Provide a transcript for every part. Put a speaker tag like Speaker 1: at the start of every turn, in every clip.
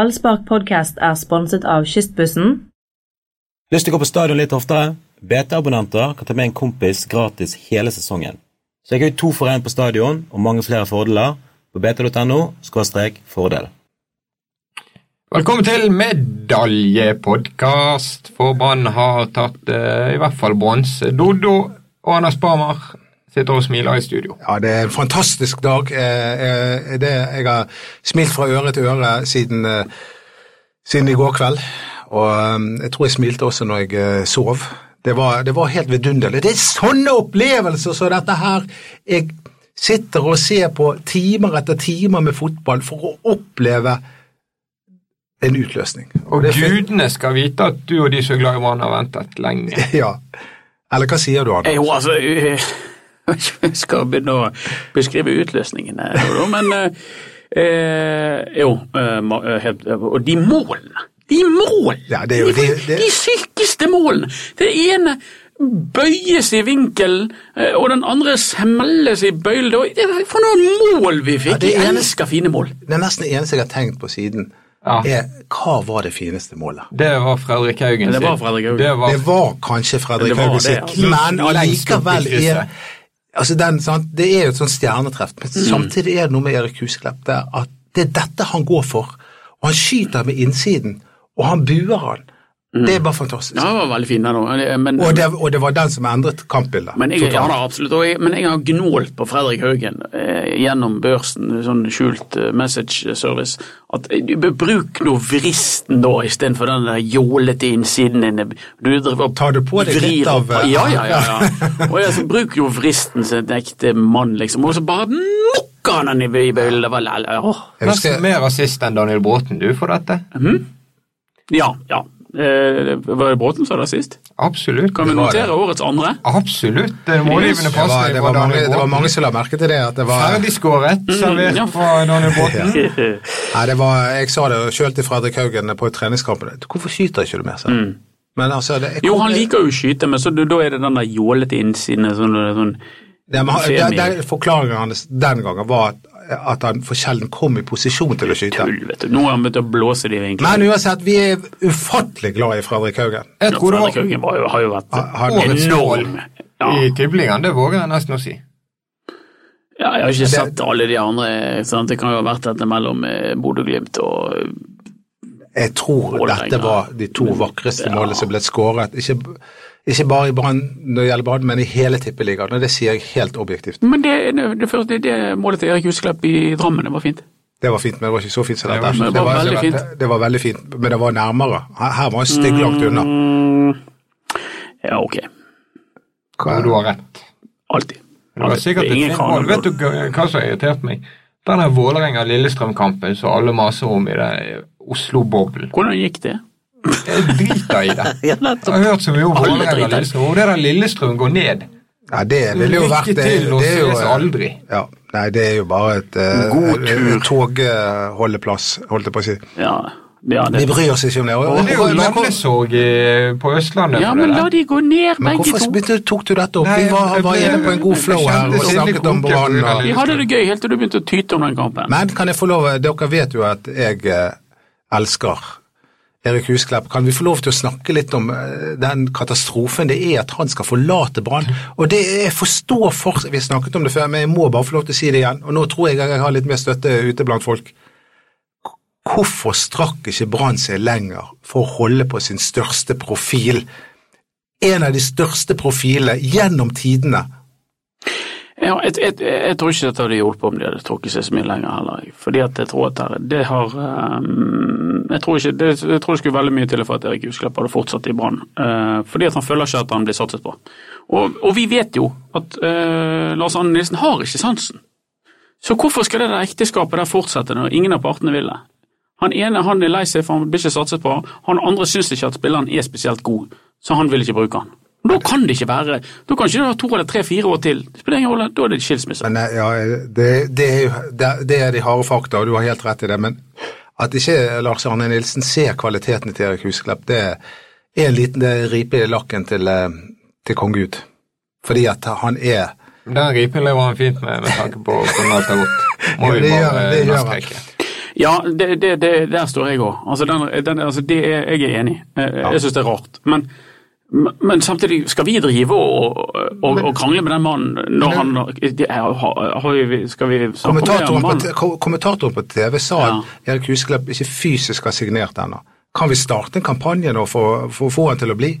Speaker 1: Ballspark podcast er sponset av Kystbussen,
Speaker 2: Lyst til å gå på stadion litt oftere? BT-abonnenter kan ta med en kompis gratis hele sesongen. Så jeg har jo to for én på stadion, og mange flere fordeler på bt.no fordel.
Speaker 3: Velkommen til medaljepodkast, for Brann har tatt eh, i hvert fall bronse. Doddo og Anders Barmer sitter og smiler i studio.
Speaker 4: Ja, det er en fantastisk dag. Eh, eh, Det, jeg har smilt fra øre til øre siden, eh, siden i går kveld. Og eh, jeg tror jeg smilte også når jeg eh, sov. Det var, det var helt vidunderlig. Det er sånne opplevelser som dette her. Jeg sitter og ser på timer etter timer med fotball for å oppleve en utløsning.
Speaker 3: Og
Speaker 4: det er fint.
Speaker 3: gudene skal vite at du og de som er glad i Brann, har ventet lenge.
Speaker 4: Ja. Eller hva sier du, Anne?
Speaker 5: Jo, altså Jeg vet ikke om jeg skal begynne å beskrive utløsningene, Dodo, men eh, eh, Jo, eh, ma- eh, helt, og de målene! De målene!
Speaker 4: Ja, det er jo-
Speaker 5: de,
Speaker 4: det- det-
Speaker 5: de sykeste målene! Det ene bøyes i vinkelen, eh, og den andre smelles i bøylen. Det var- det- For noen mål vi
Speaker 4: Ja,
Speaker 5: fikk!
Speaker 4: det
Speaker 5: jeg
Speaker 4: ene-
Speaker 5: elsker fine mål.
Speaker 4: Det nesten eneste jeg har tenkt på siden,
Speaker 3: Ja.
Speaker 4: er hva var det fineste målet?
Speaker 3: Det var Fredrik Haugen
Speaker 5: Det
Speaker 3: sitt.
Speaker 5: var Fredrik Haugen.
Speaker 3: Det var,
Speaker 4: Det var kanskje Fredrik
Speaker 5: Det var
Speaker 4: Haugen
Speaker 5: det,
Speaker 4: sitt,
Speaker 5: ja.
Speaker 4: men
Speaker 3: Lengst opp i
Speaker 4: allikevel er
Speaker 3: krysset.
Speaker 4: altså den, sant, Det er jo et sånt stjernetreff, men
Speaker 5: Mm.
Speaker 4: samtidig er det noe med Erik Husklepp der at det er dette han går for. Og han skyter med innsiden, og han buer han. Det er bare fantastisk.
Speaker 5: Mm. Ja, det var veldig fine, da. Men,
Speaker 4: Og, det, og det var den som endret kampbildet.
Speaker 5: Men jeg, ja,
Speaker 4: totalt.
Speaker 5: da, absolutt, og jeg, men jeg har gnålt på Fredrik Haugen eh, gjennom børsen, sånn skjult eh, message service, at eh, du, bruk nå vristen da istedenfor den der jålete innsiden din. Du driver og
Speaker 4: Tar du på deg
Speaker 5: vrir
Speaker 4: litt av,
Speaker 5: opp-
Speaker 4: eh,
Speaker 5: Ja, ja, ja. ja. og jeg, så, bruk jo vristen som en ekte mann, liksom, og så bare mokka han den i bøy- i bøylen. Det var lel- åh.
Speaker 4: Jeg husker-
Speaker 3: nesten mer rasist enn Daniel Bråten, du, for dette.
Speaker 5: Ja, ja. Eh, var det Bråten som sa det sist?
Speaker 3: Absolutt.
Speaker 5: Kan vi
Speaker 4: Det var det.
Speaker 5: notere årets andre?
Speaker 3: Absolutt. Det er målgivende
Speaker 4: det var,
Speaker 3: pasning
Speaker 4: det,
Speaker 3: fra
Speaker 4: var mange,
Speaker 3: Daniel
Speaker 4: det var mange
Speaker 3: Bråten.
Speaker 4: som la merke til det. At det var,
Speaker 3: Ferdigskåret, servert
Speaker 5: Mm, ja.
Speaker 3: fra Daniel Bråten.
Speaker 4: nei, det var, jeg sa det sjøl til Fredrik Haugen på treningskampen. Hvorfor skyter ikke du mer? sa jeg. Men altså, det, jeg
Speaker 5: Mm. Jo,
Speaker 4: kom-
Speaker 5: han liker jo å skyte, men så, da er det den der jålete innsiden. Sånn, sånn,
Speaker 4: Ja, men han,
Speaker 5: Semi.
Speaker 4: den, den Forklaringen hans den gangen var at, at han for sjelden kom i posisjon til å skyte.
Speaker 5: Tull, vet du. Nå har han begynt å blåse de vinklene.
Speaker 4: Men uansett, vi er ufattelig glad i Fredrik Haugen.
Speaker 3: Jeg tror det
Speaker 5: Fredrik
Speaker 3: var
Speaker 5: Haugen var jo- har jo vært
Speaker 4: Han- han-
Speaker 3: årets mål
Speaker 5: enorm. Ja.
Speaker 3: i Tiblingen, det våger jeg nesten å si.
Speaker 5: ja, jeg har ikke sett alle de andre. Sant? Det kan jo ha vært dette mellom eh, Bodø-Glimt og eh,
Speaker 4: Jeg tror
Speaker 5: Vålerenga.
Speaker 4: dette var de to vakreste
Speaker 5: ja.
Speaker 4: målene som ble skåret. Ikke, ikke bare i Brann når det gjelder Brann, men i hele Tippeligaen. Og det sier jeg helt objektivt.
Speaker 5: Men det, det første det målet til Erik Husklepp i Drammen, det var fint.
Speaker 4: Det var fint, men det var ikke så fint som
Speaker 3: Det
Speaker 4: dette.
Speaker 3: var ikke-
Speaker 5: det var veldig fint.
Speaker 4: Det, det var veldig fint, men det var nærmere. Her her var han stygg langt unna.
Speaker 5: Mm. Ja, ok.
Speaker 3: Jo, du har rett.
Speaker 5: Alltid.
Speaker 3: Det var sikkert et
Speaker 5: Ingen
Speaker 3: fint
Speaker 5: kan-
Speaker 3: mål. Vet du hva- hva som har irritert meg? Den her Vålerenga-Lillestrøm-kampen som alle maser om i den Oslo-boblen.
Speaker 5: Hvordan gikk det?
Speaker 3: Jeg driter i det.
Speaker 5: Ja,
Speaker 3: Jeg har hørt så mye om
Speaker 5: Alle
Speaker 3: Vålerenga
Speaker 5: driter i det.
Speaker 3: Lillestrøm. Og det der Lillestrøm går ned.
Speaker 4: Nei, det ville jo
Speaker 3: Lykke
Speaker 4: vært
Speaker 3: til og
Speaker 4: det er jo- eh,
Speaker 3: ses aldri.
Speaker 4: Ja, nei, det er jo bare et eh,
Speaker 5: God
Speaker 4: et-
Speaker 5: tur.
Speaker 4: et togholdeplass, holdt jeg på å si.
Speaker 5: Ja, ja,
Speaker 4: Vi
Speaker 5: det.
Speaker 4: bryr oss ikke om det. Og-
Speaker 3: Det er jo
Speaker 4: og- men hvor-
Speaker 3: landesorg i- på Østlandet.
Speaker 5: ja,
Speaker 3: for
Speaker 5: men
Speaker 3: det der.
Speaker 5: la de gå ned,
Speaker 4: men
Speaker 5: begge
Speaker 4: hvorfor
Speaker 5: to.
Speaker 4: begynte- tok du dette opp?
Speaker 3: Nei,
Speaker 4: Vi var,
Speaker 3: jeg
Speaker 4: var
Speaker 3: ble-
Speaker 4: inne på en god
Speaker 3: jeg
Speaker 4: flow her
Speaker 3: kjente
Speaker 4: og
Speaker 3: sinne
Speaker 4: snakket om
Speaker 3: koke på grunn av
Speaker 4: Brann.
Speaker 3: det.
Speaker 5: De
Speaker 4: og-
Speaker 5: hadde det gøy helt til du begynte å tyte om den kampen.
Speaker 4: Men kan jeg få lov, eh, dere vet jo at jeg eh, elsker Erik Husklepp. Kan vi få lov til å snakke litt om eh, den katastrofen det er at han skal forlate Brann? Og det jeg forstår for Vi snakket om det før, men jeg må bare få lov til å si det igjen. Og nå tror jeg jeg har litt mer støtte ute blant folk. Hvorfor strakk ikke Brann seg lenger for å holde på sin største profil? En av de største profilene gjennom tidene.
Speaker 5: Ja, jeg, jeg, jeg tror ikke dette hadde hjulpet om de hadde trukket seg så mye lenger heller. Fordi at jeg tror at det, det har ehm, jeg, tror ikke, det, jeg tror det skulle veldig mye til for at Erik Husklepp hadde fortsatt i Brann. Eh, fordi at han føler ikke at han blir satset på. Og, og vi vet jo at eh, Lars Arne Nilsen har ikke sansen. Så hvorfor skal det der ekteskapet der fortsette når ingen av partene vil det? Han ene han er lei seg for han blir ikke satset på, han andre syns ikke at spilleren er spesielt god, så han vil ikke bruke han. Men Da kan det ikke være Da kan ikke det være to eller tre, fire år til. Det spiller ingen rolle, da er det skilsmisse.
Speaker 4: Men eh, ja, det, det, er jo, det, det er de harde fakta, og du har helt rett i det. Men at ikke Lars Arne Nilsen ser kvaliteten til Erik Husklepp, det er en liten det er en ripe i lakken til, eh, til kong Gud. Fordi at han er
Speaker 3: Den ripen lever han fint med, med tanke på hvordan alt har gått. Må
Speaker 4: Ja,
Speaker 3: vi
Speaker 4: det gjør han,
Speaker 3: bare
Speaker 4: det gjør han.
Speaker 3: understreke.
Speaker 5: Ja, det, det, det, der står jeg òg. Altså, den- den- altså, det er- jeg er enig. Jeg, jeg syns det er rart. Men, men samtidig, skal vi drive og, og, og krangle med den mannen når han det er- har, har vi, Skal vi snakke om det? om
Speaker 4: Kommentatoren på,
Speaker 5: mannen?
Speaker 4: t- ko- kommentatoren på TV sa at Erik Husklepp ikke fysisk har signert ennå. Kan vi starte en kampanje nå for, for å få han til å bli?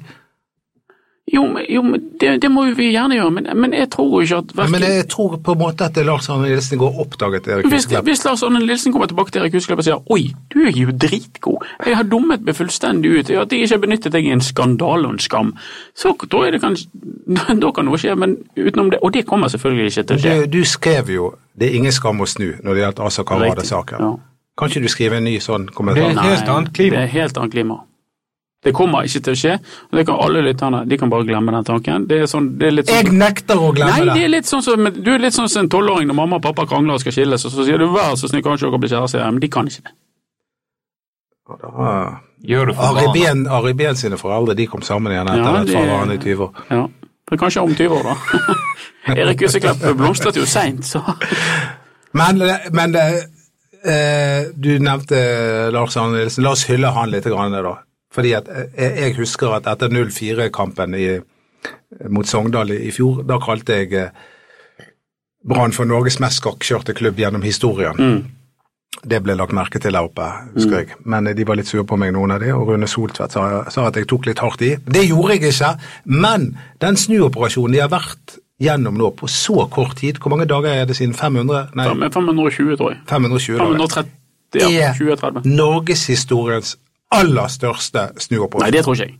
Speaker 5: Jo, men- jo men det, det må jo vi gjerne gjøre, men, men jeg tror jo ikke at
Speaker 4: Ja,
Speaker 5: hverken-
Speaker 4: men jeg tror på en måte at det er Lars Arne Nilsen i går oppdaget Erik
Speaker 5: Hvis,
Speaker 4: Husklepp.
Speaker 5: hvis Lars Arne Nilsen kommer tilbake til Erik Husklepp og sier oi, du er jo dritgod, jeg har dummet meg fullstendig ut, at jeg ikke har benyttet deg i en skandale og en skam, så tror jeg det kan, da kan noe skje, men utenom det, og det kommer selvfølgelig ikke til å
Speaker 4: Du,
Speaker 5: skje.
Speaker 4: du skrev jo 'Det er ingen skam å snu' når det gjaldt Asa Karada-saken.
Speaker 5: Riktig, ja.
Speaker 4: Kan ikke du skrive en ny sånn
Speaker 3: Det
Speaker 4: kommentar?
Speaker 3: er et helt annet
Speaker 5: Det
Speaker 3: klima.
Speaker 5: er helt annet klima. Det kommer ikke til å skje, og det kan alle lytterne, de kan bare glemme den tanken. Det er sånn, det er litt sånn
Speaker 4: Jeg nekter å glemme
Speaker 5: Nei, det
Speaker 4: det!
Speaker 5: er litt sånn som, men du er litt sånn som en tolvåring når mamma og pappa krangler og skal skilles, og så sier du vær så snill, kan ikke dere bli kjærester? Ja, men de kan ikke det.
Speaker 4: Ah.
Speaker 3: Gjør det for
Speaker 4: Ari
Speaker 3: barna.
Speaker 4: Behn- Ari Behn sine foreldre de kom sammen igjen etter
Speaker 5: Ja,
Speaker 4: at
Speaker 5: det-
Speaker 4: faren var i 20 år.
Speaker 5: Ja, men kanskje om 20 år, da. Erik Huseklepp blomstret jo seint, så
Speaker 4: Men, men eh, eh, du nevnte eh, Lars Arne Nilsen. La oss hylle han litt, grann, da. Fordi at eh, jeg husker at etter 0-4-kampen i- eh, mot Sogndal i i fjor, da kalte jeg eh, Brann for Norges mest skakkjørte klubb gjennom historien. Det ble lagt merke til der oppe, husker jeg. Men eh, de var litt sure på meg, noen av de, og Rune Soltvedt sa, sa at jeg tok litt hardt i. Det gjorde jeg ikke, men den snuoperasjonen de har vært gjennom nå på så kort tid, hvor mange dager er det siden 500? Nei,
Speaker 5: Ja, men 520, tror jeg.
Speaker 4: 520 dager.
Speaker 5: 530, ja, 2030.
Speaker 4: norgeshistoriens aller største
Speaker 5: Nei,
Speaker 4: snuoperasjon.
Speaker 5: det tror ikke jeg.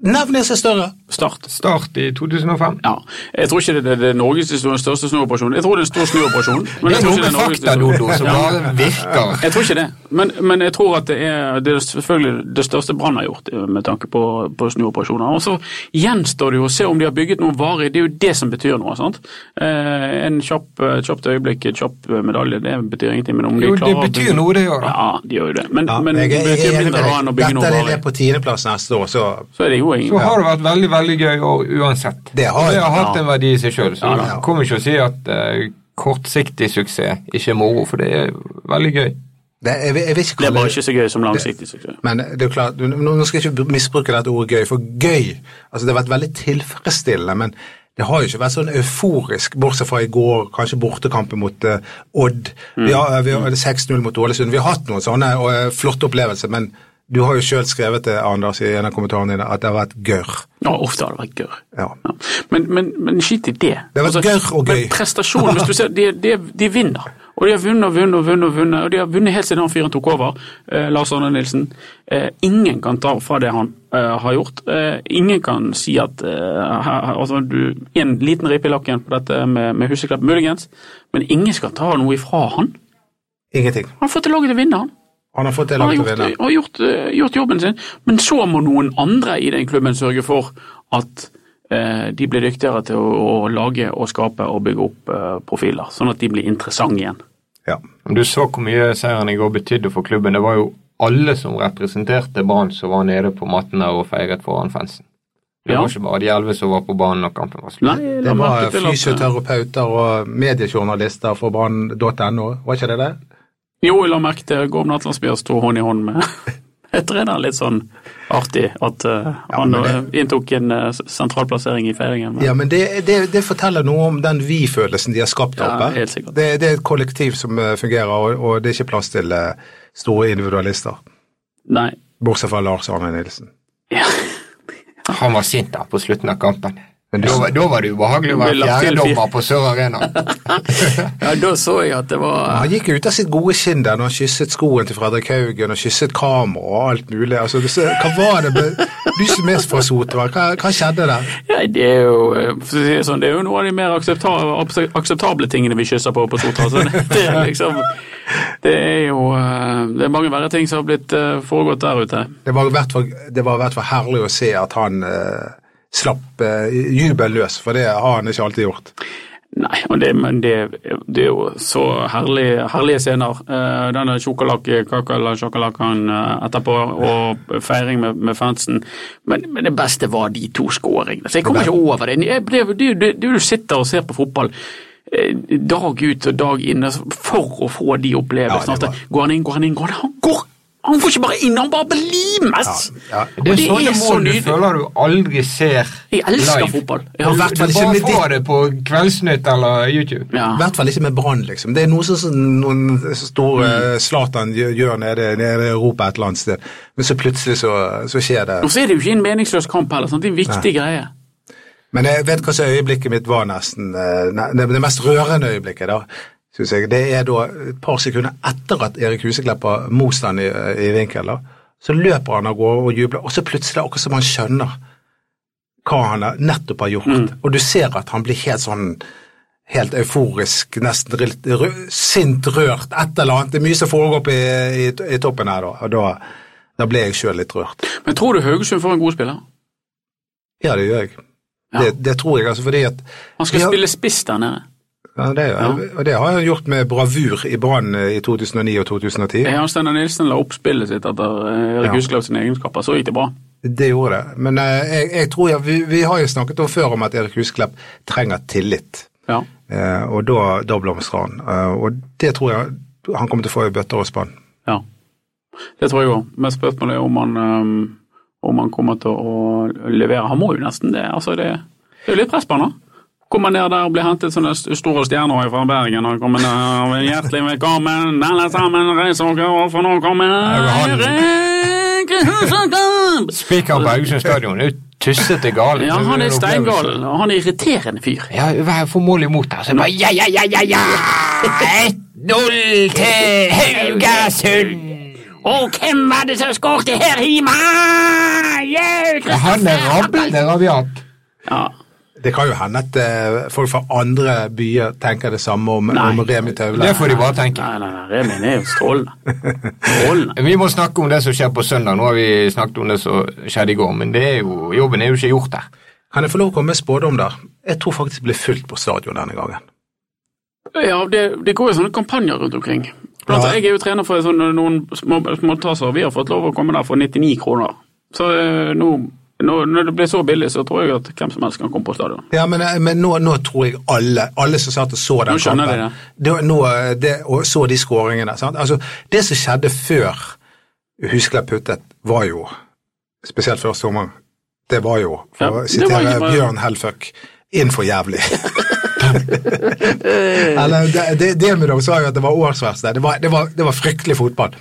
Speaker 4: Nevn en som er større!
Speaker 5: Start.
Speaker 3: Start i 2005.
Speaker 5: Ja. Jeg tror ikke det- det det er norgeshistoriens største snuoperasjon. Jeg tror det er en stor snuoperasjon.
Speaker 3: Det
Speaker 5: men jeg
Speaker 3: er
Speaker 5: tror
Speaker 3: noe
Speaker 5: ikke det
Speaker 3: med
Speaker 5: er
Speaker 3: fakta,
Speaker 5: norgeshistorien.
Speaker 3: Dodo, som bare virker.
Speaker 5: Jeg tror ikke det, men, men jeg tror at det er, det er selvfølgelig det største Brann har gjort eh, med tanke på, på snuoperasjoner. Og så gjenstår det jo å se om de har bygget noe varig, det er jo det som betyr noe. sant? Eh, en kjapp, et kjapt øyeblikk, et kjapp eh, medalje, det betyr ingenting. Men om de
Speaker 3: Jo, det
Speaker 5: klarer å
Speaker 3: betyr
Speaker 5: bygge-
Speaker 3: noe, det gjør det.
Speaker 5: Ja, de gjør jo det. Men,
Speaker 4: Ja,
Speaker 5: men
Speaker 4: jeg-
Speaker 5: det
Speaker 4: jeg- jeg-
Speaker 5: betyr
Speaker 4: jeg-
Speaker 5: mindre da enn å bygge
Speaker 4: Dette er
Speaker 5: noe
Speaker 4: det
Speaker 5: varig.
Speaker 4: på tiendeplass neste år, så
Speaker 5: Så er det jo ingen
Speaker 3: Så har det vært veldig veldig gøy og uansett.
Speaker 4: Det har jeg.
Speaker 3: hatt en verdi i seg sjøl. Så
Speaker 5: Ja,
Speaker 3: du
Speaker 5: da.
Speaker 3: kommer ikke å si at eh, kortsiktig suksess ikke er moro, for det er veldig gøy.
Speaker 4: det, jeg, jeg vil ikke
Speaker 5: Det er
Speaker 4: kalle
Speaker 5: bare ikke så gøy som langsiktig suksess.
Speaker 4: Men det er jo klart, nå nå skal jeg ikke misbruke dette ordet gøy, for gøy altså Det har vært veldig tilfredsstillende, men det har jo ikke vært sånn euforisk, bortsett fra i går, kanskje bortekampen mot eh, Odd.
Speaker 5: Mm.
Speaker 4: Vi har, vi har 6-0 mot Ålesund. Vi har hatt noen sånne og, eh, flotte opplevelser, men du har jo sjøl skrevet det, Anders, i en av kommentarene dine, at det har vært gørr.
Speaker 5: Ja, ofte har det vært gørr.
Speaker 4: Ja.
Speaker 5: Ja. Men, men, men skit i det. Altså,
Speaker 4: Det har vært gørr og gøy.
Speaker 5: Men prestasjon, hvis du ser, de, de, de vinner. Og de har vunnet og vunnet og vunnet, og vunnet, og de har vunnet helt siden han fyren tok over, eh, Lars Arne Nilsen. Eh, ingen kan ta fra det han eh, har gjort. Eh, ingen kan si at eh, her- her- altså, du, En liten ripe i lakken på dette med, med Huseklepp, muligens, men ingen skal ta noe ifra han.
Speaker 4: Ingenting.
Speaker 5: Han har fått til laget til å vinne, han.
Speaker 4: Han har fått det
Speaker 5: Han
Speaker 4: langt
Speaker 5: har
Speaker 4: til å
Speaker 5: gjort,
Speaker 4: vinne.
Speaker 5: har gjort, eh, gjort jobben sin, men så må noen andre i den klubben sørge for at eh, de blir dyktigere til å, å lage og skape og bygge opp eh, profiler, sånn at de blir interessante igjen.
Speaker 4: Ja.
Speaker 3: Om Du så hvor mye seieren i går betydde for klubben. Det var jo alle som representerte Brann som var nede på mattene og feiret foran fansen. Det
Speaker 5: Ja.
Speaker 3: var ikke bare de elleve som var på banen når kampen var slutt.
Speaker 5: Nei, jeg la
Speaker 4: Det var
Speaker 5: merke til at-
Speaker 4: fysioterapeuter og mediejournalister for brann.no, var ikke det det?
Speaker 5: Jo, jeg la merke til Gorm Natlandsbyer sto hånd i hånd med jeg trener litt sånn artig at eh, han eh, inntok en eh, s- sentral plassering i feiringen. Men,
Speaker 4: Ja, men det, det, det forteller noe om den vi-følelsen de har skapt
Speaker 5: Ja,
Speaker 4: der oppe.
Speaker 5: helt sikkert.
Speaker 4: Det, det er et kollektiv som eh, fungerer, og, og det er ikke plass til eh, store individualister.
Speaker 5: Nei.
Speaker 4: Bortsett fra Lars Arne Nilsen.
Speaker 3: Han var sint der på slutten av kampen.
Speaker 4: Men du-
Speaker 3: Da, var- da var det ubehagelig å
Speaker 5: Det ble
Speaker 3: være
Speaker 5: lagt til
Speaker 3: fjerdedommer på Sør Arena.
Speaker 5: Ja, da så jeg at det var
Speaker 4: Han gikk jo ut av sitt gode skinn der når han kysset skoen til Fredrik Haugen og kysset kamera og alt mulig. Altså, det, hva var det med Du som er fra Sotra, hva, hva skjedde der?
Speaker 5: Ja, det, er jo, eh, for å si det sånn, det er jo noe av de mer aksepta abse- akseptable tingene vi kysser på på Sotra. Så det, det, er liksom, det er jo eh, Det er mange verre ting som har blitt eh, foregått der ute.
Speaker 4: Det var i hvert fall, det var i hvert fall herlig å se at han eh, slapp eh, jubel løs, for det har han ikke alltid gjort.
Speaker 5: Nei, og det, men det, det er jo så herlig, herlige scener. Eh, Denne sjokolakekakan eh, etterpå og feiring med, med fansen. Men, men det beste var de to skåringene. Så jeg kommer ikke over det. Jeg ble, det, er jo det, det er jo du sitter og ser på fotball. eh, dag ut og dag inn altså, for å få de
Speaker 4: Ja,
Speaker 5: opplevelsene.
Speaker 4: det
Speaker 5: at det- går han inn, går han inn, går han inn? Han går! Han går ikke bare inn, han bare belimes!
Speaker 4: Ja, ja.
Speaker 5: Og
Speaker 3: Det er sånne
Speaker 5: så
Speaker 3: mål du
Speaker 5: nydelig.
Speaker 3: føler du aldri ser
Speaker 5: Jeg elsker
Speaker 3: live.
Speaker 5: fotball.
Speaker 4: Og
Speaker 5: Ja.
Speaker 4: hvert
Speaker 3: Du
Speaker 4: fall ikke
Speaker 3: bare
Speaker 4: med
Speaker 3: får
Speaker 4: ditt.
Speaker 3: det på Kveldsnytt eller YouTube.
Speaker 5: Ja.
Speaker 4: I hvert fall ikke med Brann, liksom. Det er noe som- som noen store eh, Zlatan gjør, gjør nede, nede i Europa et eller annet sted, men så plutselig så, så skjer
Speaker 5: Og
Speaker 4: det.
Speaker 5: så er det jo ikke en meningsløs kamp heller, sant? det er en viktig greie.
Speaker 4: Men jeg vet hva som øyeblikket mitt var nesten eh, nei, Det det mest rørende øyeblikket, da, synes jeg, det er da et par sekunder etter at Erik Husekleppa mos han i, eh, i vinkel, da. Så løper han av gårde og jubler, og så plutselig, akkurat som han skjønner hva han har- nettopp har gjort,
Speaker 5: Mm.
Speaker 4: og du ser at han blir helt sånn helt euforisk, nesten rø- rø- sint rørt, et eller annet. Det er mye som foregår oppe i, i, i toppen her, da. Og da, da ble jeg sjøl litt rørt.
Speaker 5: Men tror du Haugesund får en god spiller?
Speaker 4: Ja, det gjør jeg.
Speaker 5: Ja.
Speaker 4: Det, det tror jeg, altså, fordi at
Speaker 5: Han skal
Speaker 4: Ja.
Speaker 5: spille spiss der nede.
Speaker 4: ja, det, Og det har han gjort med bravur i Brann eh, i 2009 og 2010.
Speaker 5: Ja, Steinar Nilsen la opp spillet sitt etter eh, Erik
Speaker 4: Ja.
Speaker 5: Husklepp sine egenskaper, så gikk det bra.
Speaker 4: Det gjorde det. Men eh, jeg, jeg tror ja, vi, vi har jo snakket om før om at Erik Husklepp trenger tillit.
Speaker 5: Ja.
Speaker 4: Eh, og da, da blomstrer han. Eh, og det tror jeg han kommer til å få i bøtter og spann.
Speaker 5: Ja, det tror jeg òg. Men spørsmålet er om han, ehm, om han kommer til å levere. Han må jo nesten det. Altså, det, det er jo litt press på han, da. Kommer ned der og blir hentet sånne st- store stjerner fra Bergen. Han kommer ned Hjertelig velkommen, alle sammen, reis dere, og for nå kommer
Speaker 3: det var
Speaker 5: Erik Husekamp!
Speaker 3: Spikeren på Haugesund stadion er jo tussete gal.
Speaker 5: Ja, han er steingal, og han er irriterende fyr.
Speaker 3: Ja, hva får mål imot her? Så bare ja, ja, ja, ja, ja! 1-0 til Haugesund!
Speaker 5: Og hvem var det som skåret her hjemme?
Speaker 3: Ja, han er rablende rabiat.
Speaker 5: Ja.
Speaker 4: Det kan jo hende at eh, folk fra andre byer tenker det samme om,
Speaker 5: Nei.
Speaker 4: om Remi
Speaker 3: Det
Speaker 4: Taule.
Speaker 3: får de bare tenke.
Speaker 5: Nei, nei, nei, Remin er jo strålende. Strålende.
Speaker 3: Vi må snakke om det som skjer på søndag. Nå har vi snakket om det som skjedde i går, men det er jo, jobben er jo ikke gjort der.
Speaker 4: Kan jeg få lov å komme med spådom der? Jeg tror faktisk det blir fullt på stadion denne gangen.
Speaker 5: Ja, det, det går jo sånne kampanjer rundt omkring. Blant
Speaker 4: Ja.
Speaker 5: annet, jeg er jo trener for sånne, noen små, småtasser, og vi har fått lov å komme der for 99 kroner. Så eh, nå, nå, når det blir så billig, så tror jeg at hvem som helst kan komme på stadion.
Speaker 4: Ja, men, eh, men nå, nå tror jeg alle, alle som satt og så den
Speaker 5: Nå skjønner
Speaker 4: kampen,
Speaker 5: de det.
Speaker 4: da- nå, eh, det, og så de skåringene. Sant? Altså, det som skjedde før Husklepp puttet, var jo, spesielt før sommeren, det var jo, for
Speaker 5: Ja,
Speaker 4: å
Speaker 5: det var
Speaker 4: sitere
Speaker 5: ikke bare-
Speaker 4: Bjørn Helføk, inn for jævlig. Eller, det, det, det med dem sa jo at det var årsverste. Det var, det var, det var fryktelig fotball.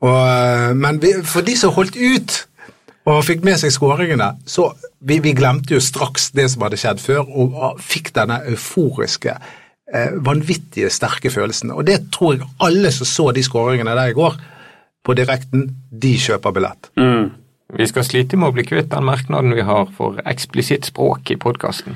Speaker 4: Og, eh, men vi, for de som holdt ut og fikk med seg skåringene, så vi, vi glemte jo straks det som hadde skjedd før, og ah, fikk denne euforiske, eh, vanvittige sterke følelsen. Og det tror jeg alle som så de skåringene der i går, på direkten, de kjøper billett.
Speaker 5: Mm.
Speaker 3: Vi skal slite med å bli kvitt den merknaden vi har for eksplisitt språk i podkasten.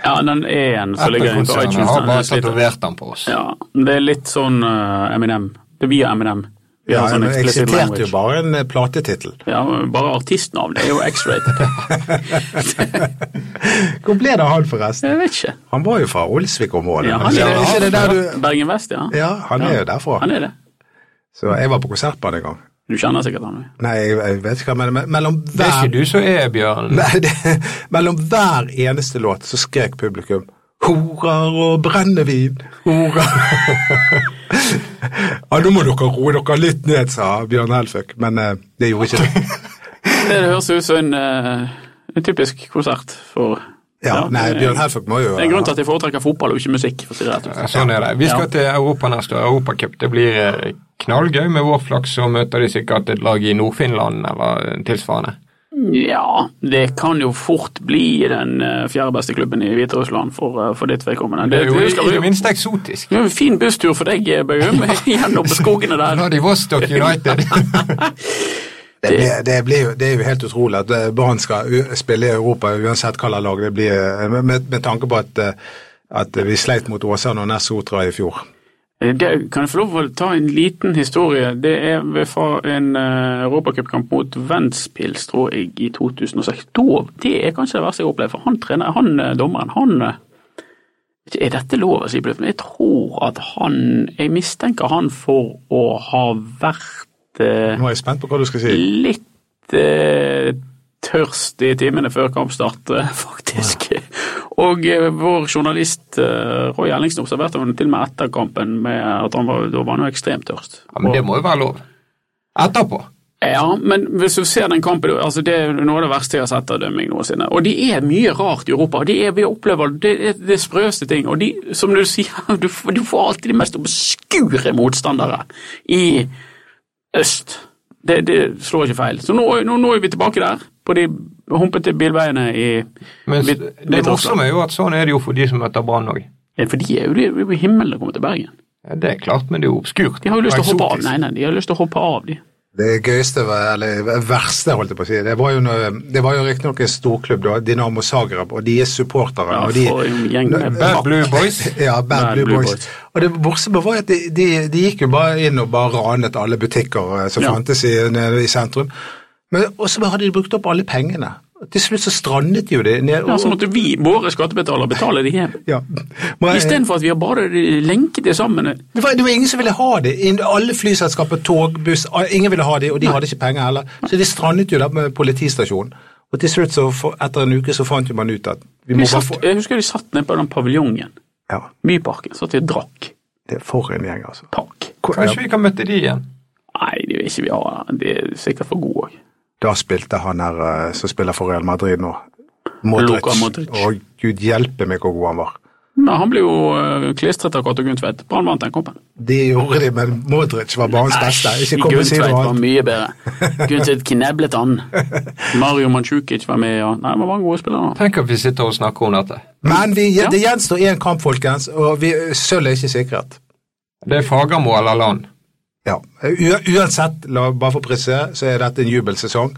Speaker 5: Ja, den er en som ligger inne på
Speaker 3: Apple-konsernet
Speaker 5: iTunes.
Speaker 3: har
Speaker 5: den
Speaker 3: bare
Speaker 5: er sliten.
Speaker 3: tatovert den på oss.
Speaker 5: Ja, det er litt sånn eh, Eminem. Det er via Eminem. Vi
Speaker 4: Ja,
Speaker 5: har sånn
Speaker 4: men jeg
Speaker 5: explicit
Speaker 4: siterte jo
Speaker 5: language.
Speaker 4: bare en eh, platetittel.
Speaker 5: Ja, men bare artistnavn. Det er jo X-rated.
Speaker 4: Hvor ble det av han, forresten?
Speaker 5: Jeg vet ikke.
Speaker 4: Han var jo fra Olsvik-området.
Speaker 5: Ja, han
Speaker 4: men
Speaker 5: er,
Speaker 4: ikke det der du
Speaker 5: Bergen Vest, ja.
Speaker 4: Ja, han er jo derfra.
Speaker 5: Han er det.
Speaker 4: Så jeg var på konsert på han en gang.
Speaker 5: Du kjenner sikkert han.
Speaker 4: Nei, jeg, jeg vet ikke hva men mellom
Speaker 3: Det er
Speaker 4: hver,
Speaker 3: ikke du som er Bjørn.
Speaker 4: nei, det, mellom hver eneste låt så skrek publikum Horer og brennevin, horer Ja, nå må dere roe dere litt ned, sa Bjørn Helføk, men eh, det gjorde ikke det.
Speaker 5: Det høres ut som en, eh, en typisk konsert for
Speaker 4: Ja, nei, Bjørn Helføk må jo
Speaker 5: Det er en grunn til at jeg foretrekker fotball og ikke musikk. for å si det rett ut.
Speaker 3: Sånn er det. Vi skal
Speaker 5: Ja.
Speaker 3: til Europa neste år, Europacup. Det blir eh, knallgøy. Med vår flaks så møter de sikkert et lag i Nord-Finland eller tilsvarende.
Speaker 5: Ja, det kan jo fort bli den eh, fjerde beste klubben i Hviterussland for, eh, for ditt vedkommende.
Speaker 3: Det er jo
Speaker 5: det
Speaker 3: i
Speaker 5: skal
Speaker 3: i det
Speaker 5: bli-
Speaker 3: minste eksotisk.
Speaker 5: det er jo en fin busstur for deg, eh, Bøhum, gjennom skogene der.
Speaker 3: Nå har de Vostok United.
Speaker 4: Det, blir- det, blir jo, det er jo helt utrolig at eh, Brann skal u- spille i Europa uansett hva slags lag det blir, eh, med, med, med tanke på at, eh, at vi sleit mot Åsane og Ness Otra i fjor.
Speaker 5: Eh, Det, kan jeg få lov å ta en liten historie? Det er ved- fra en uh, europacupkamp mot Ventspils, tror jeg, i 2006. Da, det er kanskje det verste jeg har opplevd, for han trener, han eh, dommeren, han eh, Er dette lov å si, Bluff? Men jeg tror at han Jeg mistenker han for å ha vært eh,
Speaker 4: Nå er jeg spent på hva du skal si.
Speaker 5: litt eh, tørst i timene før kampstart, eh, faktisk. Og eh, vår journalist eh, Roy Ellingsen observerte ham til og med etter kampen med at han var, da var han jo ekstremt tørst.
Speaker 3: Ja, men det må jo være lov. Etterpå.
Speaker 5: Ja, men hvis du ser den kampen, altså det er noe av det verste jeg har sett av dømming noensinne. Og det er mye rart i Europa. Det er, vi opplever det, er det sprøeste ting. Og de, som du sier, du, f- du får alltid de mest obskure motstandere i øst. Det, det slår ikke feil. Så nå, nå, nå er vi tilbake der, på de humpete bilveiene i
Speaker 3: Men
Speaker 5: Midt-
Speaker 3: det
Speaker 5: Midt-Russland.
Speaker 3: morsomme er jo at sånn er det jo for de som møter Brann òg.
Speaker 5: Ja, For de er jo det- det er jo himmelen å komme til Bergen.
Speaker 3: Ja, det er klart, men det er jo obskurt.
Speaker 5: De har jo lyst til å
Speaker 3: Og
Speaker 5: hoppe av.
Speaker 3: eksotisk.
Speaker 5: Nei, nei, de har lyst til å hoppe av, de.
Speaker 4: Det gøyeste, var- eller verste, holdt jeg på å si, det var jo, når- det var jo riktignok en storklubb, da, Dinamo Zagreb, og de er supportere.
Speaker 5: Ja,
Speaker 4: og de,
Speaker 5: for en gjeng med
Speaker 3: Bad Blue Boys.
Speaker 4: Ja, Bad, Blue, Boys. Og det morsomme var at de, de, de gikk jo bare inn og bare ranet alle butikker eh, som
Speaker 5: Ja.
Speaker 4: fantes i, nede i sentrum. Men, og så hadde de brukt opp alle pengene. Til slutt så strandet jo de ned.
Speaker 5: Ja, sånn så
Speaker 4: og-
Speaker 5: måtte vi, våre skattebetalere, betale de hjem.
Speaker 4: ja. Men-
Speaker 5: Istedenfor at vi har bare lenket det sammen.
Speaker 4: Det var, det var ingen som ville ha det. In- Alle flyselskaper, tog, buss, a- ingen ville ha det, og de hadde ikke penger heller. Så de strandet jo der med politistasjonen. Og til slutt, så, for, etter en uke, så fant jo man ut at vi må
Speaker 5: Vi
Speaker 4: bare
Speaker 5: satt,
Speaker 4: få
Speaker 5: jeg husker vi satt nede på den paviljongen,
Speaker 4: Ja,
Speaker 5: Byparken, satt vi og drakk
Speaker 4: det er for en gjeng, altså.
Speaker 5: takk.
Speaker 4: Hvor,
Speaker 3: Kanskje vi kan møte de igjen.
Speaker 5: Nei, det er jo ikke vi har, det er sikkert for god òg.
Speaker 4: Da spilte han her eh, som spiller for Real Madrid nå, Modric.
Speaker 5: Luka Modric.
Speaker 4: Og gud hjelpe meg hvor god han var.
Speaker 5: Men han ble jo øh, klistret av Kato Gundtveit. Brann vant den kampen.
Speaker 4: Det gjorde de, men Modric var banens beste. Ikke kom og si
Speaker 5: Gundtveit
Speaker 4: noe
Speaker 5: var
Speaker 4: annet.
Speaker 5: mye bedre. Gundtveit kneblet han. Mario Manchukic var med, og Nei, det var mange gode spillere. da.
Speaker 3: Tenk at vi sitter og snakker om dette.
Speaker 4: Men vi,
Speaker 5: Ja.
Speaker 4: det gjenstår én kamp, folkens, og vi, sølv er ikke sikret.
Speaker 3: Det er Fagermo eller land.
Speaker 4: Ja, U uansett, la bare for å presisere, så er dette en jubelsesong.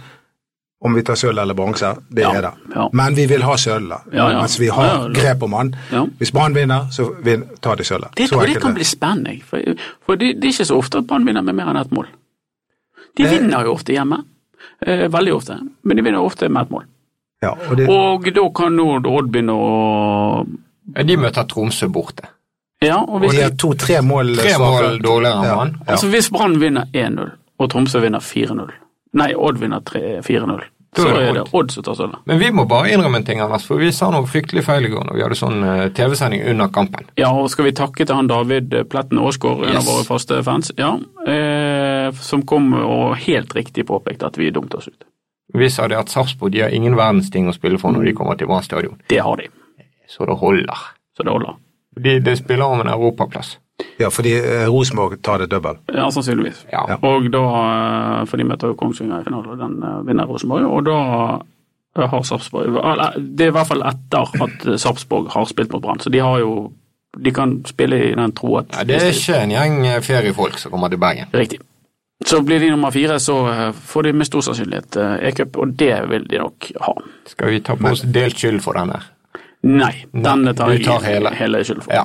Speaker 4: Om vi tar sølv eller bronse, det
Speaker 5: Ja,
Speaker 4: er det.
Speaker 5: ja.
Speaker 4: Men vi vil ha sølv, da.
Speaker 5: Ja, ja.
Speaker 4: Mens vi har
Speaker 5: Ja, ja, la-
Speaker 4: grep om han.
Speaker 5: Ja.
Speaker 4: Hvis Brann vinner, så vin, tar de sølvet.
Speaker 5: Det
Speaker 4: Så
Speaker 5: tror jeg
Speaker 4: enkelt
Speaker 5: kan
Speaker 4: er
Speaker 5: bli spennende, for, for det, det er ikke så ofte at Brann vinner med mer enn ett mål. De
Speaker 4: Det-
Speaker 5: vinner jo ofte hjemme. Eh, veldig ofte. Men de vinner ofte med ett mål.
Speaker 4: Ja, og det,
Speaker 5: Og da kan Nord Odd begynne å
Speaker 3: Ja, De møter Tromsø borte.
Speaker 5: Ja, og
Speaker 4: og
Speaker 5: hvis,
Speaker 4: de har to-tre mål
Speaker 3: Tre mål
Speaker 4: svakere.
Speaker 3: dårligere enn Brann.
Speaker 5: altså hvis Brann vinner 1-0, og Tromsø vinner 4-0 Nei, Odd vinner 3 4-0.
Speaker 3: Da
Speaker 5: Så
Speaker 3: er det
Speaker 5: er det
Speaker 3: Odd.
Speaker 5: Odd som tar sølvet.
Speaker 3: Men vi må bare innrømme en ting, Anders, for vi sa noe fryktelig feil i går når vi hadde sånn eh, TV-sending under kampen.
Speaker 5: Ja, og skal vi takke til han David eh, Pletten Aasgaard, en av
Speaker 3: Yes.
Speaker 5: våre faste fans, ja, eh, som kom og helt riktig påpekte at vi dumte oss ut.
Speaker 3: Vi sa det at Sarpsborg de har ingen verdens ting å spille for når de kommer til Brann stadion.
Speaker 5: Det har de,
Speaker 3: Så det holder.
Speaker 5: så det holder.
Speaker 3: De, de spiller om en europaplass.
Speaker 4: Ja, fordi eh, Rosenborg tar det dobbelt.
Speaker 5: Ja, sannsynligvis.
Speaker 3: Ja.
Speaker 4: Ja.
Speaker 5: Og da, eh, for de møter jo Kongsvinger i finalen, og den eh, vinner Rosenborg. Og da eh, har Sarpsborg eller, eh, Det er i hvert fall etter at eh, Sarpsborg har spilt mot Brann, så de har jo De kan spille i den tro at
Speaker 3: Ja, det er ikke en gjeng eh, feriefolk som kommer til Bergen.
Speaker 5: Riktig. Så blir de nummer fire, så eh, får de med stor sannsynlighet eh, E-cup, og det vil de nok ha.
Speaker 3: Skal vi ta på oss delt skyld for denne?
Speaker 5: Nei, denne tar,
Speaker 3: du tar hele.
Speaker 5: hele skylden for.
Speaker 3: Ja.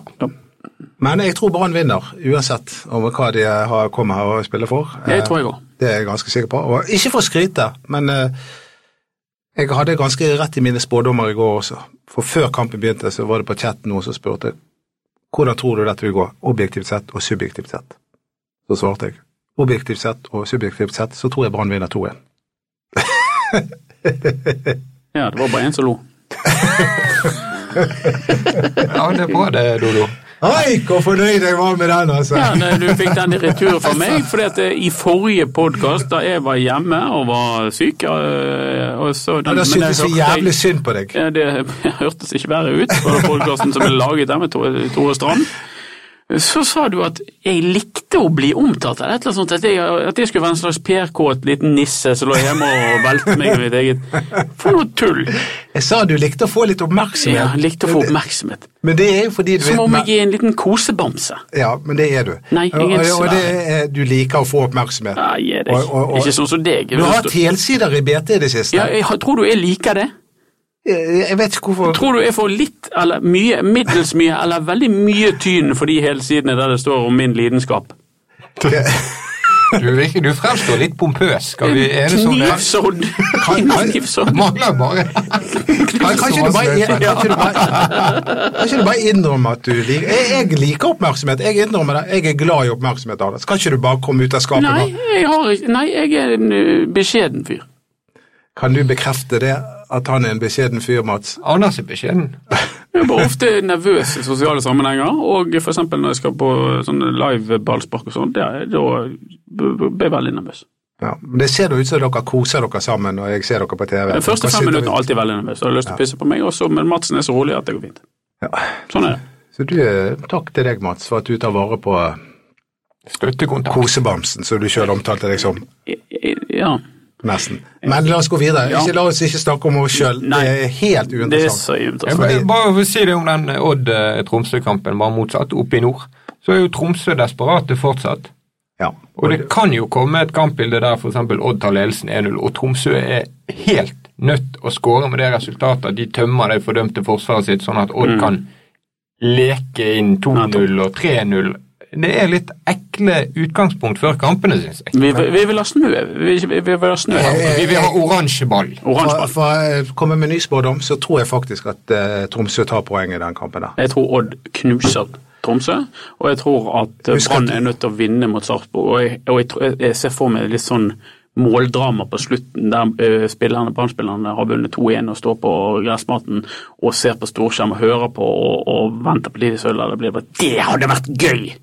Speaker 4: Men jeg tror Brann vinner, uansett om hva de har, kommer her og spiller for.
Speaker 5: Det
Speaker 4: Eh,
Speaker 5: tror jeg òg.
Speaker 4: Det er jeg ganske sikker på. Og ikke for å skryte, men eh, jeg hadde ganske rett i mine spådommer i går også. For før kampen begynte, så var det på chatten noen som spurte hvordan tror du dette vil gå, objektivt sett og subjektivt sett. Så svarte jeg objektivt sett og subjektivt sett, så tror jeg Brann vinner 2-1.
Speaker 5: Ja, det var bare én som lo.
Speaker 3: Ja, det er bra det, Dodo.
Speaker 4: Hei, hvor fornøyd jeg var med den, altså!
Speaker 5: Ja, nei, eh, du fikk den i retur fra meg, fordi at eh, i forrige podkast, da jeg var hjemme og var syk eh, og så den,
Speaker 4: Men da
Speaker 5: men jeg
Speaker 4: syntes vi
Speaker 5: hørte-
Speaker 4: jævlig synd på deg.
Speaker 5: Ja, det hørtes ikke verre ut på den podkasten som ble laget der med Tore Tore Strand. Så sa du at jeg likte å bli omtalt, eller et eller annet sånt, at jeg, at jeg skulle være en slags PR-kåt liten nisse som lå hjemme og velte meg i mitt eget For noe tull!
Speaker 4: Jeg sa du likte å få litt
Speaker 5: Ja,
Speaker 4: oppmerksomhet.
Speaker 5: jeg likte å få oppmerksomhet.
Speaker 4: Men det er jo fordi du
Speaker 5: Som om
Speaker 4: men-
Speaker 5: jeg er en liten kosebamse.
Speaker 4: Ja, men det er du.
Speaker 5: Nei, jeg er
Speaker 4: og, og, og
Speaker 5: svær.
Speaker 4: det er, du liker å få oppmerksomhet.
Speaker 5: Nei, jeg er det
Speaker 4: Og- og-
Speaker 5: ikke.
Speaker 4: og-
Speaker 5: Ikke sånn som deg.
Speaker 4: Du har hatt helsider i BT i det siste.
Speaker 5: ja, jeg har- tror du jeg liker det?
Speaker 4: Jeg jeg vet ikke hvorfor
Speaker 5: Tror du jeg får litt eller mye, middels mye eller veldig mye tyn for de helsidene der det står om min lidenskap?
Speaker 3: Du, virker, du fremstår litt pompøs. Skal vi enes om det?
Speaker 4: sånn
Speaker 5: Knivsådd!
Speaker 4: Kan- kan-
Speaker 5: Knivsådd.
Speaker 3: Mangler bare
Speaker 4: Kan kan ikke du bare, kan ikke du bare, kan ikke du bare innrømme at du liker jeg, jeg liker oppmerksomhet. Jeg innrømmer det. Jeg er glad i oppmerksomhet, Anders. Kan ikke du bare komme ut av skapet
Speaker 5: Nei,
Speaker 4: nå?
Speaker 5: jeg har ikke Nei, jeg er en ø, beskjeden fyr.
Speaker 4: Kan du bekrefte det? At han er en beskjeden fyr, Mats?
Speaker 3: Anders er beskjeden.
Speaker 5: Jeg er bare ofte nervøs i sosiale sammenhenger, og f.eks. når jeg skal på sånne live ballspark og sånn, da blir jeg veldig nervøs.
Speaker 4: Ja, men det ser jo ut som dere koser dere sammen, og jeg ser dere på TV.
Speaker 5: De første
Speaker 4: Dere
Speaker 5: fem
Speaker 4: sitter-
Speaker 5: minuttene er alltid veldig nervøs, og jeg har lyst til å pisse på meg også, men Madsen er så rolig at det går fint.
Speaker 4: Ja.
Speaker 5: Sånn er det.
Speaker 4: Så du, eh, takk til deg, Mats, for at du tar vare på
Speaker 3: Støttekontakt.
Speaker 4: kosebamsen, som du selv omtalte deg som.
Speaker 5: I- i- Ja.
Speaker 4: Nesten. Men la oss gå videre.
Speaker 5: Ja.
Speaker 4: Ikke, la oss ikke snakke om oss sjøl. Det
Speaker 5: Nei.
Speaker 4: er helt
Speaker 5: Det er
Speaker 4: uinteressant.
Speaker 5: så
Speaker 3: Ja,
Speaker 5: interessant.
Speaker 3: men jeg bare vil si det om den eh, Odd-Tromsø-kampen, bare motsatt. Oppe i nord så er jo Tromsø desperate fortsatt.
Speaker 4: Ja.
Speaker 3: Og det kan jo komme et kampbilde der f.eks. Odd tar ledelsen 1-0, og Tromsø er helt nødt å skåre med det resultatet at de tømmer det fordømte forsvaret sitt, sånn at Odd kan leke inn 2-0 og 3-0. Det er litt ekle utgangspunkt før kampene, syns jeg.
Speaker 5: Vi, vi vil ha snø. Vi vil, ikke- vi vi vil ha snø.
Speaker 3: Vi vil ha oransje ball.
Speaker 5: Oransje
Speaker 4: For,
Speaker 5: ball.
Speaker 4: for å eh, komme med ny spådom, så tror jeg faktisk at eh, Tromsø tar poeng i den kampen der.
Speaker 5: Jeg tror Odd knuser Tromsø, og jeg tror at eh,
Speaker 4: Husk at-
Speaker 5: Brann er nødt til å vinne mot Sarpsborg. Og, jeg, og jeg, tror- jeg- jeg ser for meg litt sånn måldrama på slutten, der eh, spillerne, Brann-spillerne har vunnet 2-1 og står på gressmaten og ser på storskjerm og hører på og, og venter på Lidi Sølva. Det blir bare Det hadde vært gøy!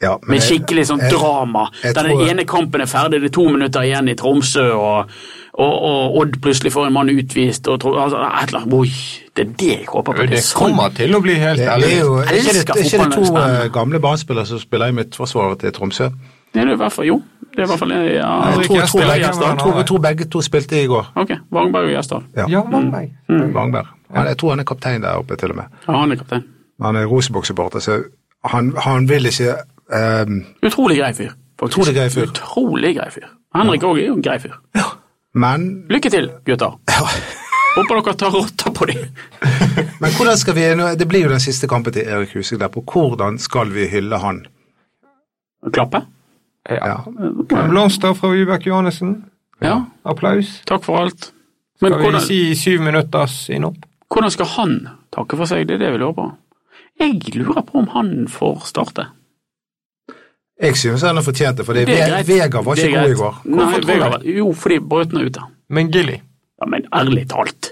Speaker 4: Ja, Eh,
Speaker 5: Med
Speaker 4: jeg-
Speaker 5: skikkelig sånn
Speaker 4: jeg-
Speaker 5: drama.
Speaker 4: jeg
Speaker 5: Der
Speaker 4: tror-
Speaker 5: den ene kampen er ferdig, det er to minutter igjen i Tromsø, og, og, og Odd plutselig får en mann utvist og tro, altså, et eller annet. Oi, det er det jeg håper på. Det
Speaker 3: Det
Speaker 5: er sånn.
Speaker 3: kommer til å bli helt
Speaker 4: Det er
Speaker 3: ærlig.
Speaker 4: jo er ikke det,
Speaker 5: elsker
Speaker 4: er ikke det
Speaker 5: fotballen, det
Speaker 4: to
Speaker 5: er spennende.
Speaker 4: eh, gamle barnespillere som spiller i midtforsvaret til Tromsø?
Speaker 5: Det er det i hvert fall. Jo, det er i hvert fall ja,
Speaker 4: Jeg
Speaker 3: Henrik
Speaker 4: tror, tror,
Speaker 3: Gjesdal,
Speaker 4: begge,
Speaker 3: Gjesdal,
Speaker 4: jeg
Speaker 3: han
Speaker 4: tror,
Speaker 3: har
Speaker 4: jeg tror begge to spilte i går.
Speaker 5: Ok, Vangberg og Gjesdal.
Speaker 3: Ja, Vangberg.
Speaker 5: Mm.
Speaker 4: Vangberg. Han, jeg tror han er kaptein der oppe, til og med.
Speaker 5: Ja, han er kaptein.
Speaker 4: Han er Rosenborg-supporter, så han, han vil ikke ehm,
Speaker 5: Utrolig grei fyr. faktisk.
Speaker 4: Utrolig grei fyr.
Speaker 5: Utrolig grei fyr. Henrik òg er jo en grei fyr.
Speaker 4: men,
Speaker 5: Lykke til, gutter. Håper dere tar rotta på dem.
Speaker 4: men hvordan skal vi nå- Det blir jo den siste kampen til Erik Huseklepp, og hvordan skal vi hylle han?
Speaker 5: Klappe?
Speaker 4: Ja.
Speaker 3: En blomst der fra Vibeke Johannessen.
Speaker 5: Ja.
Speaker 3: Applaus.
Speaker 5: Takk for alt. Men
Speaker 3: Skal vi
Speaker 5: hvordan,
Speaker 3: si syv minutters innopp?
Speaker 5: hvordan skal han takke for seg? Det er det vi lurer på. Jeg lurer på om han får starte.
Speaker 4: Jeg synes han har fortjent det, for
Speaker 3: Eh,
Speaker 4: det,
Speaker 5: er
Speaker 4: Ve-
Speaker 5: greit.
Speaker 4: Vegard var
Speaker 5: Det er
Speaker 4: ikke god i
Speaker 5: greit.
Speaker 4: går.
Speaker 5: Nei,
Speaker 3: tror
Speaker 5: Vegard var Jo, fordi brøyten er ute.
Speaker 3: Men Gilly
Speaker 5: Ja, men ærlig talt.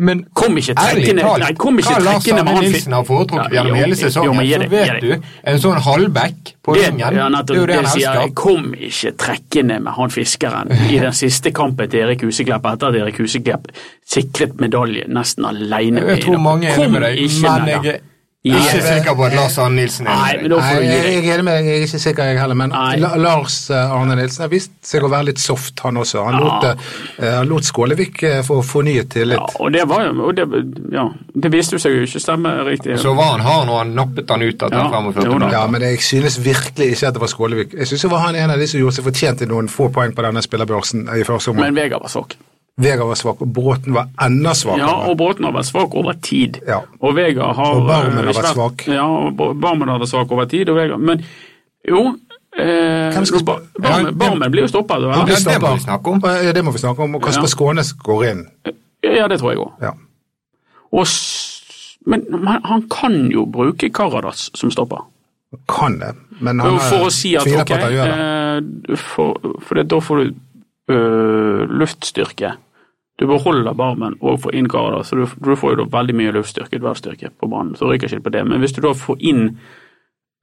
Speaker 3: Men
Speaker 5: Kom ikke
Speaker 3: Ærlig
Speaker 5: trekkende
Speaker 3: talt,
Speaker 5: Nei, kom ikke
Speaker 3: hva Lars
Speaker 5: trekkende
Speaker 3: Arne
Speaker 5: med han
Speaker 3: Nilsen har foretrukket
Speaker 5: Ja,
Speaker 3: gjennom
Speaker 5: jo,
Speaker 3: hele
Speaker 5: jo,
Speaker 3: sesongen,
Speaker 5: men gi
Speaker 3: så
Speaker 5: det, gi
Speaker 3: vet
Speaker 5: det.
Speaker 3: du, en sånn halvback på
Speaker 5: Det,
Speaker 3: linjen,
Speaker 5: ja,
Speaker 3: det
Speaker 5: nettopp,
Speaker 3: er jo det han
Speaker 5: sier jeg.
Speaker 3: elsker.
Speaker 5: Kom ikke trekkende med han fiskeren i den siste kampen til Erik Huseklepp etter at Erik Huseklepp sikret medalje nesten alene.
Speaker 3: Jeg tror mange er enig med deg, men jeg er ikke
Speaker 5: Yes.
Speaker 3: sikker på at Lars Arne Nilsen
Speaker 5: Nei,
Speaker 3: er
Speaker 5: men
Speaker 3: enig.
Speaker 5: da
Speaker 4: Nei,
Speaker 5: får du
Speaker 4: jeg,
Speaker 5: gi deg.
Speaker 4: jeg er enig med deg, jeg er ikke sikker jeg heller, men
Speaker 5: Nei.
Speaker 4: La, Lars eh, Arne Nilsen har vist seg å være litt soft, han også. Han lot,
Speaker 5: Ja.
Speaker 4: eh, han lot Skålevik eh, få fornyet tillit.
Speaker 5: Ja, og det var jo og det, ja, det viste jo seg jo ikke stemme riktig.
Speaker 3: Så var han hard når han nappet han ut etter
Speaker 5: Ja,
Speaker 3: 45
Speaker 5: jo da.
Speaker 3: minutter.
Speaker 4: Ja, men jeg synes virkelig ikke at det var Skålevik. Jeg synes det var han en av de som gjorde seg fortjent til noen få poeng på denne spillerbørsen i første omgang.
Speaker 5: Men Vegard var svak.
Speaker 4: Vegard var svak, og Bråten var enda svakere.
Speaker 5: Ja, og Bråten har vært svak over tid.
Speaker 4: Ja.
Speaker 5: Og Vegard har
Speaker 4: Og Barmen har
Speaker 5: eh, ikke
Speaker 4: vært svak.
Speaker 5: Ja, og Bar- Barmen har vært svak over tid, og Vegard Men jo eh,
Speaker 4: Hvem skal
Speaker 5: Bar-
Speaker 4: sp-
Speaker 5: Barmen,
Speaker 3: Ja, det-
Speaker 5: Barmen blir jo stoppa.
Speaker 4: Han
Speaker 3: blir
Speaker 4: blir
Speaker 3: Ja, det må
Speaker 4: stopper.
Speaker 3: vi snakke om.
Speaker 4: Ja, Det må vi snakke om. Og Kasper
Speaker 5: Ja.
Speaker 4: Skånes går inn.
Speaker 5: Ja, det tror jeg òg.
Speaker 4: Ja.
Speaker 5: Og s- Men men han kan jo bruke Karadas som stopper.
Speaker 4: Kan det, men han
Speaker 5: Jo,
Speaker 4: har-
Speaker 5: For å si at
Speaker 4: tviler
Speaker 5: ok,
Speaker 4: på at han gjør det.
Speaker 5: eh, for, for det, da får du eh, luftstyrke. Du beholder barmen og får inn Karadas, så du, du får jo da veldig mye luftstyrke dvergstyrke på banen. så ryker ikke det på det. Men hvis du da får inn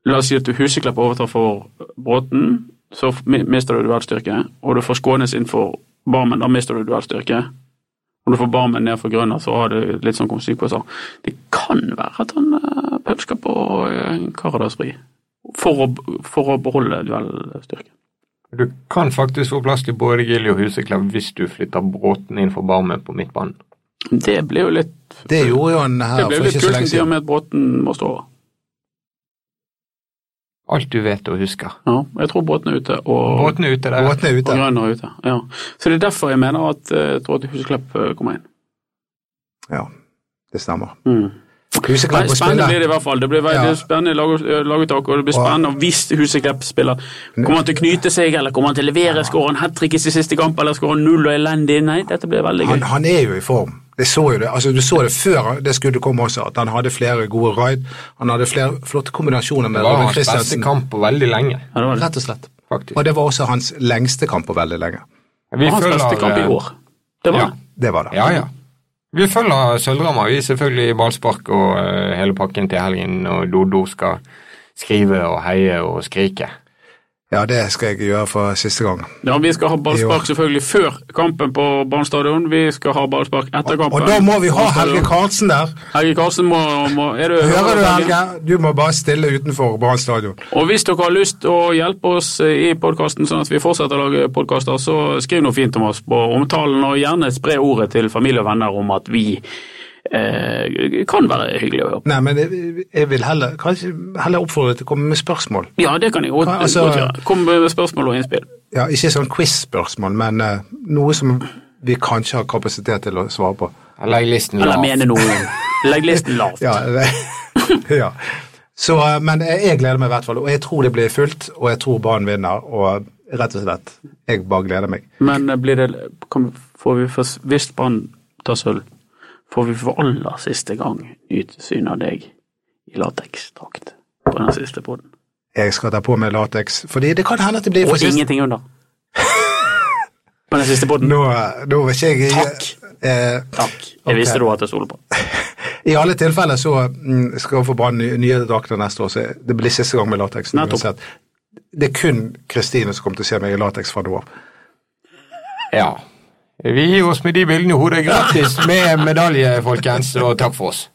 Speaker 5: La oss si at du Huseklepp overtar for Bråten, så f- mi- mister du duellstyrke. Og du får Skånes inn for Barmen, da mister du duellstyrke. Og du får Barmen ned for Grønner, så har du litt sånn konsekvenser. Det kan være at han eh, pølsker på eh, Karadas vri for, å- for å beholde duellstyrken.
Speaker 3: Du kan faktisk få plass til både Gilly og Huseklepp hvis du flytter Bråten inn for Barmen på midtbanen.
Speaker 5: Det ble jo litt
Speaker 4: Det gjorde jo han
Speaker 5: det
Speaker 4: her
Speaker 5: ble jo
Speaker 4: for
Speaker 5: litt
Speaker 4: ikke så lenge
Speaker 5: kult i og
Speaker 4: siden.
Speaker 5: med at Bråten må stå over.
Speaker 3: Alt du vet og husker.
Speaker 5: Ja, jeg tror Bråten er ute, og,
Speaker 3: Bråten er ute der.
Speaker 4: Bråten er
Speaker 5: og
Speaker 4: ute.
Speaker 5: Grønner er ute. Ja. Så det er derfor jeg mener at eh, jeg tror at Huseklepp eh, kommer inn.
Speaker 4: Ja, det stemmer.
Speaker 5: Mm.
Speaker 4: Huseklepp
Speaker 5: Nei,
Speaker 4: må spille.
Speaker 5: spennende blir det i hvert fall. Det blir veldig
Speaker 4: Ja.
Speaker 5: spennende lag- eh, laguttak, og det blir
Speaker 4: Og-
Speaker 5: spennende hvis Huseklepp spiller. Kommer han til å knyte seg, eller kommer han til å levere? Skårer han hat trick i sin siste kamp, eller skårer han null og elendig? Nei, dette blir veldig
Speaker 4: Han,
Speaker 5: gøy.
Speaker 4: han er jo i form. Det så jo det. Altså, du så det før det skuddet kom også, at han hadde flere gode raid. Han hadde flere flotte kombinasjoner
Speaker 3: Det
Speaker 4: med
Speaker 3: var
Speaker 4: Robin
Speaker 3: hans beste
Speaker 4: Christiansen.
Speaker 3: kamp på veldig lenge,
Speaker 5: Ja, det var det.
Speaker 4: Rett og slett.
Speaker 3: faktisk.
Speaker 4: Og det var også hans lengste kamp på veldig lenge.
Speaker 3: Vi
Speaker 5: Og hans
Speaker 3: følger,
Speaker 5: beste kamp i
Speaker 3: eh,
Speaker 5: år. Det var
Speaker 3: Ja.
Speaker 5: det.
Speaker 4: Det var det.
Speaker 3: Ja, ja. Vi følger Sølvramma, vi er selvfølgelig i ballspark og eh, hele pakken til helgen, og Dodo skal skrive og heie og skrike.
Speaker 4: Ja, det skal jeg gjøre for siste gang.
Speaker 5: Ja, Vi skal ha
Speaker 4: Jo.
Speaker 5: ballspark selvfølgelig før kampen på Barnstadion. Vi skal ha ballspark etter kampen.
Speaker 4: Og da må vi ha
Speaker 5: Barnstadion.
Speaker 4: Helge Karlsen der.
Speaker 5: Helge Karlsen må, må er du,
Speaker 4: Hører du, Helge? Du må bare stille utenfor Brann stadion.
Speaker 5: Og hvis dere har lyst å hjelpe oss i podkasten, sånn at vi fortsetter å lage podkaster, så skriv noe fint om oss på omtalen, og gjerne spre ordet til familie og venner om at vi eh, kan være hyggelige å høre på.
Speaker 4: Nei, men jeg, jeg vil heller, kanskje, heller oppfordre deg til å komme med spørsmål.
Speaker 5: Ja, det kan jeg godt
Speaker 4: Hva, altså-
Speaker 5: godt gjøre. Kom med spørsmål og innspill.
Speaker 4: Ja, ikke sånn quiz-spørsmål, men eh, noe som vi kanskje har kapasitet til å svare på.
Speaker 3: Legg listen
Speaker 5: Eller
Speaker 3: lav.
Speaker 5: mene noe. Legg listen lavt.
Speaker 4: Ja, det- ja. Så, eh, men jeg jeg gleder meg i hvert fall, og jeg tror det blir fullt, og jeg tror Brann vinner, og eh, rett og slett, jeg bare gleder meg.
Speaker 5: Men eh, blir det kan, får vi for, Hvis Brann tar sølv, får vi for aller siste gang nyte syn av deg i lateksdrakt på den siste poden.
Speaker 4: Jeg skal ta på meg lateks, fordi det kan hende at det blir
Speaker 5: Og
Speaker 4: for sist.
Speaker 5: ingenting under. På den siste poden.
Speaker 4: Nå, eh, nå var ikke jeg...
Speaker 5: Takk.
Speaker 4: Eh,
Speaker 5: Takk. Jeg visste
Speaker 4: Ok.
Speaker 5: du hadde stole på.
Speaker 4: I alle tilfeller så mm, skal få Brann ny- nye drakter neste år, så det blir siste gang med lateksen.
Speaker 5: Nettopp.
Speaker 4: uansett. Det er kun Kristine som kommer til å se meg i lateks fra nå av.
Speaker 3: Ja. Vi gir oss med de bildene i hodet. Grattis med medalje, folkens, og takk for oss.